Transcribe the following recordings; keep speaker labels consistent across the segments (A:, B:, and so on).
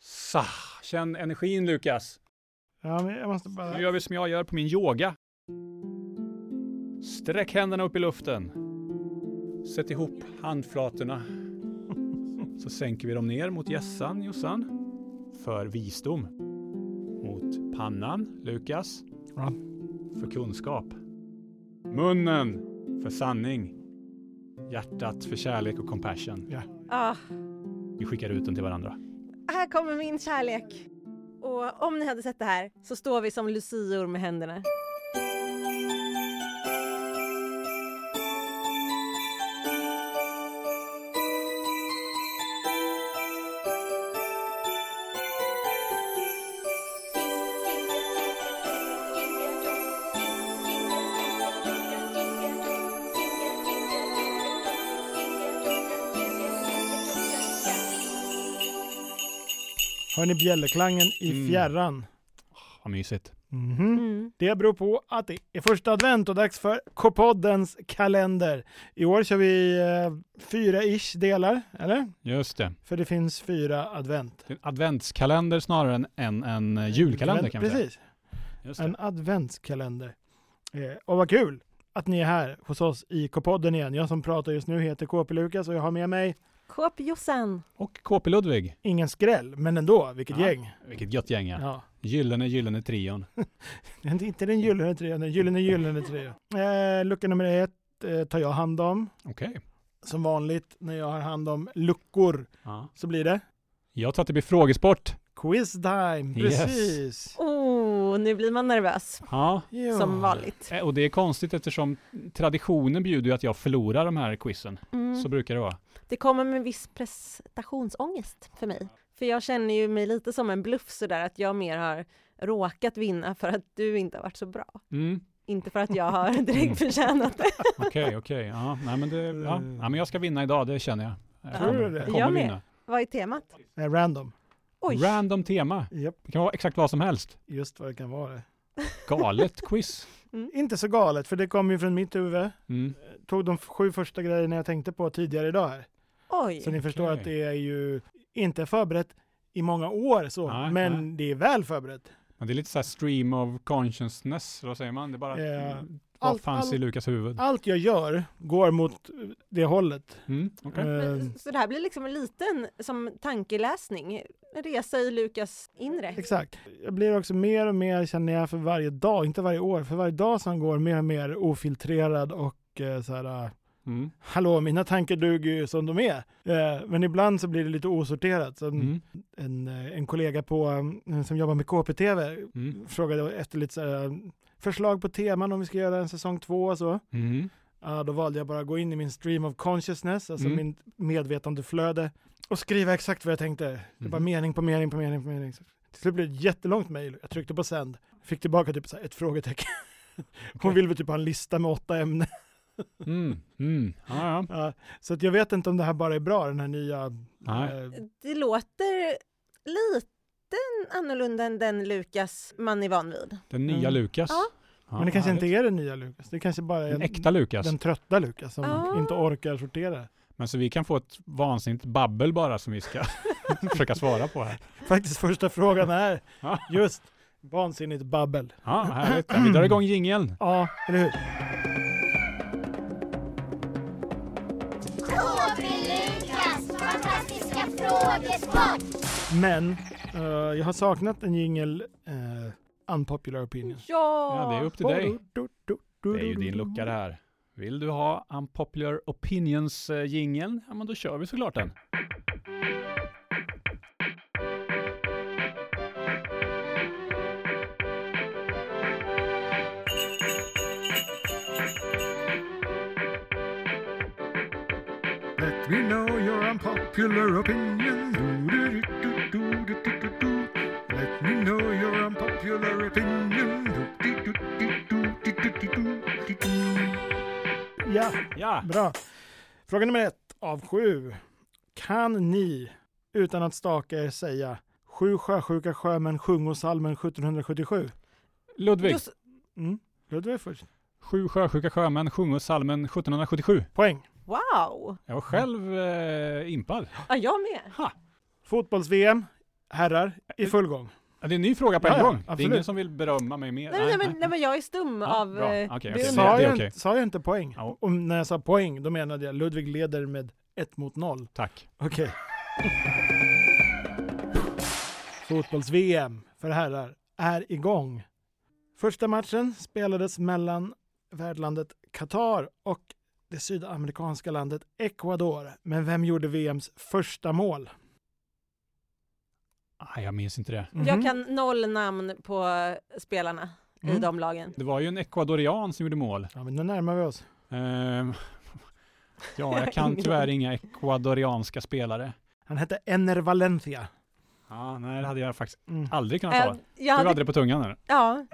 A: Så, känn energin Lukas.
B: Ja, men jag måste bara...
A: Nu gör vi som jag gör på min yoga. Sträck händerna upp i luften. Sätt ihop handflatorna. Så sänker vi dem ner mot hjässan, Jossan. För visdom. Mot pannan, Lukas.
B: Ja.
A: För kunskap. Munnen för sanning. Hjärtat för kärlek och compassion.
C: Ah,
A: Vi skickar ut den till varandra.
C: här kommer min kärlek. Och om ni hade sett det här så står vi som lucior med händerna.
B: Hör ni bjällerklangen i
A: Mm.
B: fjärran?
A: Vad mysigt.
B: Mhm.
C: Mm.
B: Det beror på att det är första advent och dags för K-poddens kalender. I år kör vi eh, fyra-ish delar, eller?
A: Just det.
B: För det finns fyra advent.
A: Det är En adventskalender snarare än en, en eh, julkalender kan vi säga.
B: Precis,
A: Just det.
B: en adventskalender. Eh, och vad kul att ni är här hos oss i K-podden igen. Jag som pratar just nu heter KP-Lukas och jag har med mig
C: Kåp-Jossan.
A: Och KP Ludvig.
B: ingen skräll, men ändå, vilket
A: Ja.
B: gäng.
A: Vilket gött gäng ja.
B: Ja.
A: Gyllene, gyllene trion.
B: Det är Inte den gyllene trean, den gyllene gyllene trean. Eh, lucka nummer ett eh, tar jag hand om.
A: Okej.
B: Som vanligt när jag har hand om luckor
A: Ja.
B: så blir det
A: Jag tror att det blir frågesport.
B: quiz time.
A: Yes.
B: Precis.
C: Oh, nu blir man nervös.
A: Ja.
B: Ja.
C: Som vanligt.
A: Eh, Och det är konstigt eftersom traditionen bjuder ju att jag förlorar de här quizen.
C: Mm.
A: Så brukar det vara.
C: Det kommer med viss prestationsångest för mig. För jag känner ju mig lite som en bluff sådär att jag mer har råkat vinna för att du inte har varit så bra.
A: Mm.
C: Inte för att jag har
A: Mm.
C: direkt förtjänat det.
A: Okej, okej. Ja. Nej, men det, ja. ja, men jag ska vinna idag, det känner jag. Jag
C: Tror du
A: kommer-
B: det?
A: Jag kommer
C: Jag med.
A: vinna.
C: Vad är temat?
B: Eh, random.
C: Oj!
A: Random tema.
B: Japp,
A: Det kan vara exakt vad som helst.
B: just vad det kan vara.
A: Galet quiz.
B: Inte så galet, för det kom ju från mitt huvud.
A: Mm.
B: Tog de sju första grejerna jag tänkte på tidigare idag här. Så
C: Oj!
B: ni förstår
A: Okej.
B: att det är ju inte förberett i många år så,
A: Nej,
B: men
A: nej.
B: det är väl förberett.
A: Men det är lite så här stream of consciousness, eller vad säger man? Det är bara
B: Ja.
A: mm, vad
B: Eh, Allt-
A: fanns i
B: allt-
A: Lukas huvud.
B: Allt jag gör går mot det hållet.
A: Mm, okej.
B: Eh,
C: Men, så det här blir liksom en liten som tankeläsning, en resa i Lukas inre.
B: Exakt. Jag blir också mer och mer, känner jag, för varje dag, inte varje år, för varje dag som går, mer och mer ofiltrerad och eh, så här, eh,
A: Mm,
B: hallå, mina tankar duger ju som de är. Eh, men ibland så blir det lite osorterat. Så en-
A: mm,
B: en, eh, en kollega på, eh, som jobbar med KPTV
A: mm,
B: frågade efter lite så här, eh, förslag på teman om vi ska göra en säsong två och så.
A: mm.
B: Ja, då valde jag bara att gå in i min stream of consciousness, alltså
A: Mm.
B: min medvetandeflöde och skriva exakt vad jag tänkte. Det var
A: Mhm.
B: mening på mening på mening på mening. Så Till slut blev det ett jättelångt mejl. Jag tryckte på sänd, fick tillbaka typ så här ett frågetecken. Hon ville väl typ ha en lista med åtta ämnen.
A: Mm, mm. Ja, ja.
B: Ja, så att jag vet inte om det här bara är bra, den här nya...
A: Nej.
B: eh,
C: Det låter lite annorlunda än den Lukas man är van vid.
A: Den nya
B: Mm.
A: Lukas.
C: Ja.
A: Ja,
B: men det kanske
A: härligt.
B: inte är den nya Lukas. Det kanske bara är
A: Den äkta Lukas.
B: den trötta Lukas som
C: Ah.
B: inte orkar sortera.
A: Men så vi kan få ett vansinnigt babbel bara som vi ska försöka svara på här.
B: Faktiskt första frågan är
A: Ja.
B: just vansinnigt babbel.
A: Ja, härligt. Ja, vi drar igång jingeln.
B: Ja, eller hur?
D: KB Lukas fantastiska frågesport!
B: Men eh, jag har saknat en jingel eh, Unpopular opinion.
C: Ja!
A: Ja, det är upp till dig.
B: Det
A: Det är ju din lucka det här. Vill du ha Unpopular opinions eh, jingeln? Ja, men då kör vi såklart den.
E: Let me know your unpopular opinion. Do-do-do-do-do-do-do-do. Let me know your unpopular opinion. Do-do-do-do-do-do-do-do-do.
B: Ja,
A: Ja,
B: bra. Fråga nummer ett av sju. Kan ni utan att staka er säga Sju sjösjuka sjömän sjungo salmen 1777?
A: Ludvig.
C: Just,
B: Mm. Ludvig först.
A: Sju sjösjuka sjömän sjunger salmen 1777.
B: Poäng.
C: wow!
A: Jag var själv eh, impad.
C: Ja, jag med.
B: Fotbolls-VM herrar, i full gång.
A: Ja, Det är en ny fråga på en
B: Ja, ja,
A: gång. Det är
B: absolut.
A: ingen som vill berömma mig mer.
C: Nej, nej, men, nej men jag är stum
A: Ja,
C: av
A: bra.
C: eh,
A: Okej, okej,
C: beundran.
A: det- det är
B: Sa jag,
A: okej.
B: inte, sa jag inte poäng?
A: Ja.
B: Och när jag sa poäng, då menade jag Ludvig leder med 1 mot 0.
A: Tack.
B: Okej. Fotbolls-VM för herrar är igång. Första matchen spelades mellan värdlandet Qatar och det sydamerikanska landet Ecuador. Men vem gjorde VMs första mål?
A: Ah, jag minns inte det.
B: Mhm.
C: Jag kan noll namn på spelarna i
B: Mm.
C: de lagen.
A: Det var ju en ecuadorian som gjorde mål.
B: Ja, men nu närmar vi oss.
A: Ehm, ja, jag kan tyvärr inga ecuadorianska spelare.
B: Han hette Ener Valencia.
A: Ja, nej, det hade jag faktiskt
B: Mm.
A: aldrig kunnat ta.
C: Äh,
A: Du
C: jag
A: hade
C: hade,
A: det på tungan eller?
C: ja,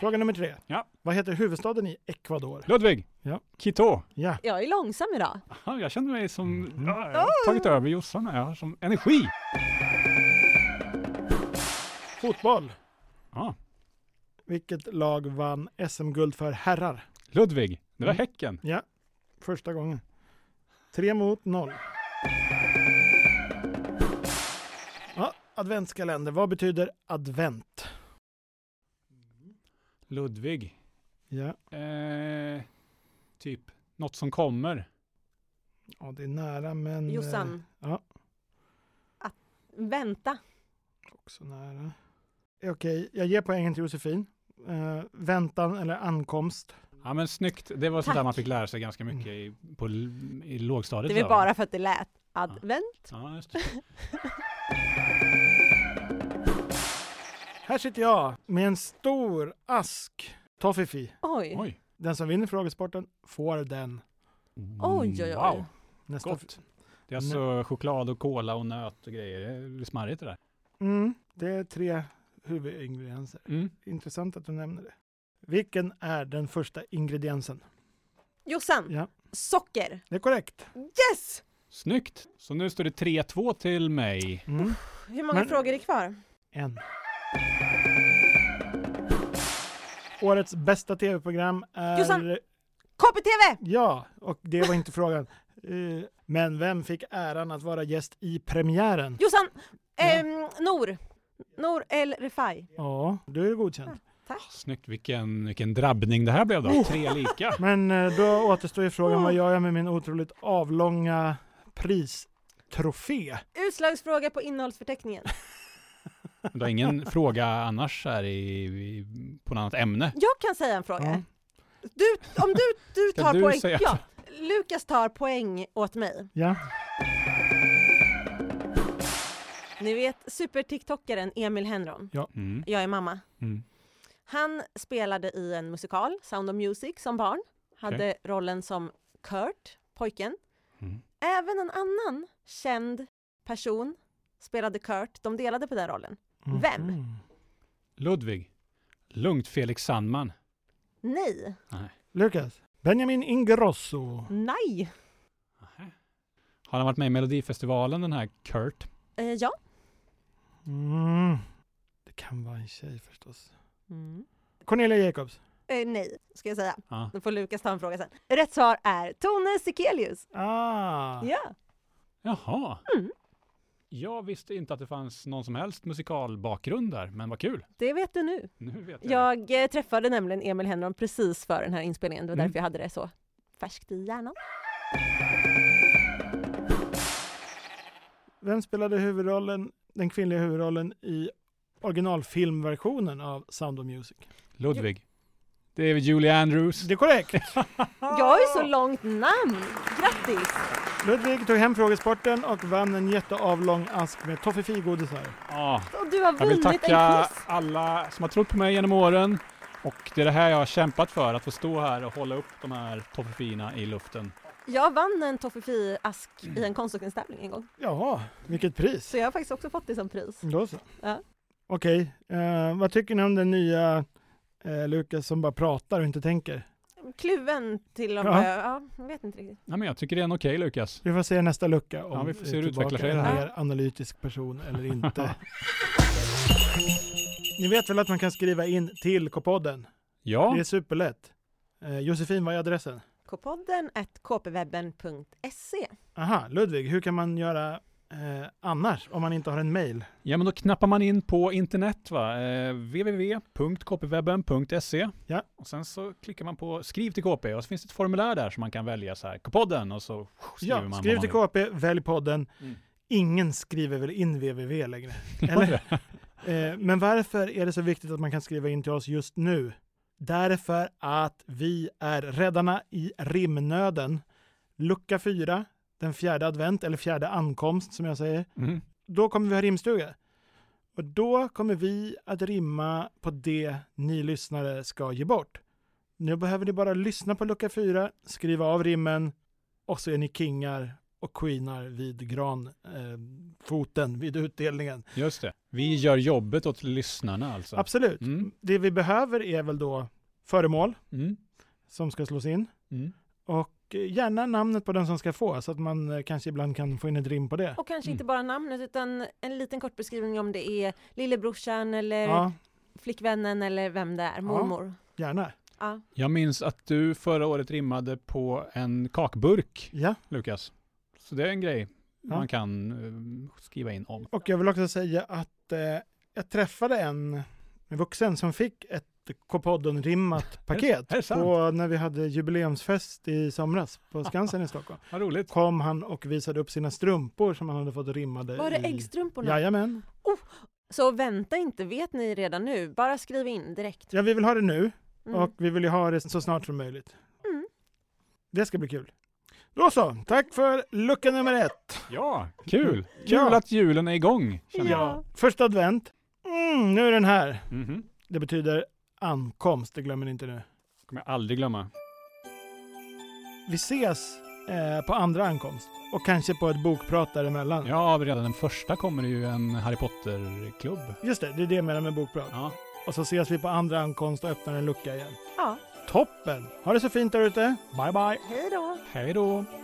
B: Fråga nummer tre.
A: Ja.
B: Vad heter huvudstaden i Ecuador?
A: Ludvig!
B: Ja.
A: Quito!
B: Ja.
C: jag är långsam idag.
A: Aha, jag känner mig som...
B: Mhm.
A: Ja, jag har tagit över Jossan här. Jag har som energi!
B: Fotboll.
A: Ja,
B: Vilket lag vann SM-guld för herrar?
A: Ludvig! Det var
B: Mm.
A: Häcken.
B: Ja, första gången. Tre mot noll. Ja, adventskalender. Vad betyder advent?
A: Ludvig.
B: Ja,
A: Eh, typ något som kommer.
B: ja det är nära men... eh,
C: Jossan.
B: ja.
C: Att vänta.
B: Också nära. Eh, Okej, jag ger poängen till Josefin. Eh, väntan eller ankomst.
A: Ja men snyggt. Det var sånt där
C: Tack.
A: man fick lära sig ganska mycket i, på, l- i lågstadiet.
C: Det
A: så
C: är väl
A: där, va?
C: bara för att det lät advent.
A: Ja, just det.
B: Här sitter jag med en stor ask Toffifee.
C: Oj.
A: Oj.
B: Den som vinner frågesporten får den.
C: Oj, oj, oj.
A: Wow,
B: Nästa
A: gott. Det är alltså choklad och kola och nöt och grejer. Det är smarrigt det där.
B: Mm, det är tre huvudingredienser.
A: Mm.
B: Intressant att du nämner det. Vilken är den första ingrediensen?
C: Jossan.
B: Ja.
C: Socker.
B: Det är korrekt.
C: Yes!
A: Snyggt! Så nu står det 3-2 till mig.
B: Mm.
C: Hur många
B: Men-
C: frågor är kvar?
B: En. Årets bästa tv-program är...
C: Jossan! KPTV!
B: Ja, och det var inte frågan. Eh, Men vem fick äran att vara gäst i premiären?
C: Jossan!
B: Ja.
C: Ehm, Nor. Nor El Refai.
B: Ja, du är godkänd.
A: Snyggt, vilken, vilken drabbning det här blev då.
C: Oh!
A: Tre lika.
B: Men eh, då återstår ju frågan vad gör jag med min otroligt avlånga pristrofé?
C: Utslagsfråga på innehållsförteckningen.
A: Du har ingen fråga annars här i, i, på något annat ämne?
C: Jag kan säga en fråga.
B: Ja.
C: Du, om du, du
A: Ska
C: tar
A: du
C: poäng.
A: säga?
C: Ja, Lukas tar poäng åt mig.
B: Ja.
C: Ni vet super-tiktockaren Emil Henron.
A: Mm.
C: Jag är mamma.
A: Mm.
C: Han spelade i en musikal, Sound of Music, som barn. Hade
A: Okej.
C: rollen som Kurt, pojken.
A: Mm.
C: Även en annan känd person spelade Kurt. De delade på den rollen. Vem?
B: Mhm.
A: Ludvig. Lugnt Felix Sandman.
C: Nej.
B: Lukas. Benjamin Ingrosso.
C: Nej.
A: Har han varit med i Melodifestivalen den här Kurt?
C: Eh, ja.
B: Mm. Det kan vara en tjej förstås.
C: Mm.
B: Cornelia Jacobs.
C: Eh, nej, ska jag säga.
A: Ja.
C: Då får Lukas ta en fråga sen. Rätt svar är Tone Sekelius.
B: Ah.
C: Ja.
A: Jaha.
C: Mm.
A: Jag visste inte att det fanns någon som helst musikalbakgrund där, men vad kul.
C: Det vet du nu.
A: Nu vet jag.
C: Jag eh, träffade nämligen Emil Henron precis för den här inspelningen. Det var
A: Mm.
C: därför jag hade det så färskt i hjärnan.
B: Vem spelade huvudrollen, den kvinnliga huvudrollen i originalfilmversionen av Sound of Music?
A: Ludvig. Det är Julie Andrews.
B: Det är korrekt.
C: Jag har ju så långt namn! Grattis!
B: Ludvig tog hem frågesporten och vann en jätteavlång ask med toffifee-godisar.
A: Ja,
C: Och du har
A: jag vill
C: vunnit en
A: tacka
C: quiz!
A: alla som har trott på mig genom åren. Och det är det här jag har kämpat för, att få stå här och hålla upp de här toffifina i luften.
C: Jag vann en toffifee-ask i en konståkningstävling en gång.
B: Ja, vilket pris.
C: Så jag har faktiskt också fått det som pris.
B: Då så.
C: Ja.
B: Okej, eh, vad tycker ni om den nya eh, Lukas som bara pratar och inte tänker?
C: Kluven till om
B: Ja.
C: jag, ja, jag vet inte riktigt.
A: Nej, men jag tycker det är en okej Lukas.
B: Vi får se nästa lucka om
A: Ja, vi får se hur
B: är
A: det utvecklar sig
B: tillbaka
A: det
B: en
A: här.
B: mer analytisk person eller inte. Ni vet väl att man kan skriva in till K-podden?
A: Ja,
B: Det är superlätt. Eh, Josefin, vad är adressen?
C: kpodden kpwebben.se.
B: Aha, Ludvig, hur kan man göra eh, annars om man inte har en mail?
A: Ja, men då knappar man in på internet, va? Eh, www.kpwebben.se.
B: Ja.
A: Och sen så klickar man på skriv till KP och så finns det ett formulär där som man kan välja så här, podden och så skriver
B: Ja,
A: man.
B: skriv
A: vad
B: till
A: man
B: KP, välj podden.
A: Mm.
B: Ingen skriver väl in www längre?
A: vill.
B: Eller? Eh, men varför är det så viktigt att man kan skriva in till oss just nu? Därför att vi är Räddarna i rimnöden. Lucka 4, den fjärde advent, eller fjärde ankomst som jag säger.
A: Mm.
B: Då kommer vi ha rimstuga. Och då kommer vi att rimma på det ni lyssnare ska ge bort. Nu behöver ni bara lyssna på lucka 4, skriva av rimmen och så är ni kingar och queenar vid granfoten eh, foten vid utdelningen.
A: Just det. Vi gör jobbet åt lyssnarna alltså.
B: Absolut.
A: Mm.
B: Det vi behöver är väl då föremål
A: Mm.
B: som ska slås in
A: Mm.
B: och eh, gärna namnet på den som ska få så att man eh, kanske ibland kan få in ett rim på det.
C: Och kanske
A: Mm.
C: inte bara namnet utan en liten kort beskrivning om det är lillebrorsan eller
B: Ja,
C: flickvännen eller vem det är, mormor.
B: gärna.
C: Ja.
A: Jag minns att du förra året rimmade på en kakburk,
B: Ja,
A: Lukas. Så det är en grej
B: Ja.
A: man kan eh, skriva in om.
B: och jag vill också säga att eh, jag träffade en vuxen som fick ett K-podden-rimmat paket
A: är det sant?
B: på, när vi hade jubileumsfest i somras på Skansen i Stockholm.
A: Vad roligt.
B: Kom han och visade upp sina strumpor som han hade fått rimmade
C: Var det
B: i.
C: äggstrumporna?
B: Jajamän.
C: Så vänta inte, vet ni redan nu? Bara skriv in direkt.
B: Ja, vi vill ha det nu
C: Mm.
B: och vi vill ju ha det så snart som möjligt.
C: Mm.
B: Det ska bli kul. Då så, tack för lucka nummer ett.
A: Ja, kul. Kul
B: Ja.
A: att julen är igång. känner jag.
C: Ja.
B: Första advent. Mm, nu är den här.
A: Mhm.
B: Det betyder ankomst, det glömmer ni inte nu.
A: kommer jag aldrig glömma.
B: Vi ses eh, på andra ankomst och kanske på ett bokprat däremellan.
A: Ja, redan den första kommer det ju en Harry Potter-klubb.
B: Just det, det är det jag menar med bokprat.
A: Ja.
B: Och så ses vi på andra ankomst och öppnar en lucka igen.
C: ja.
B: Toppen! Ha det så fint där ute. Bye bye!
C: Hej då!
A: Hej då!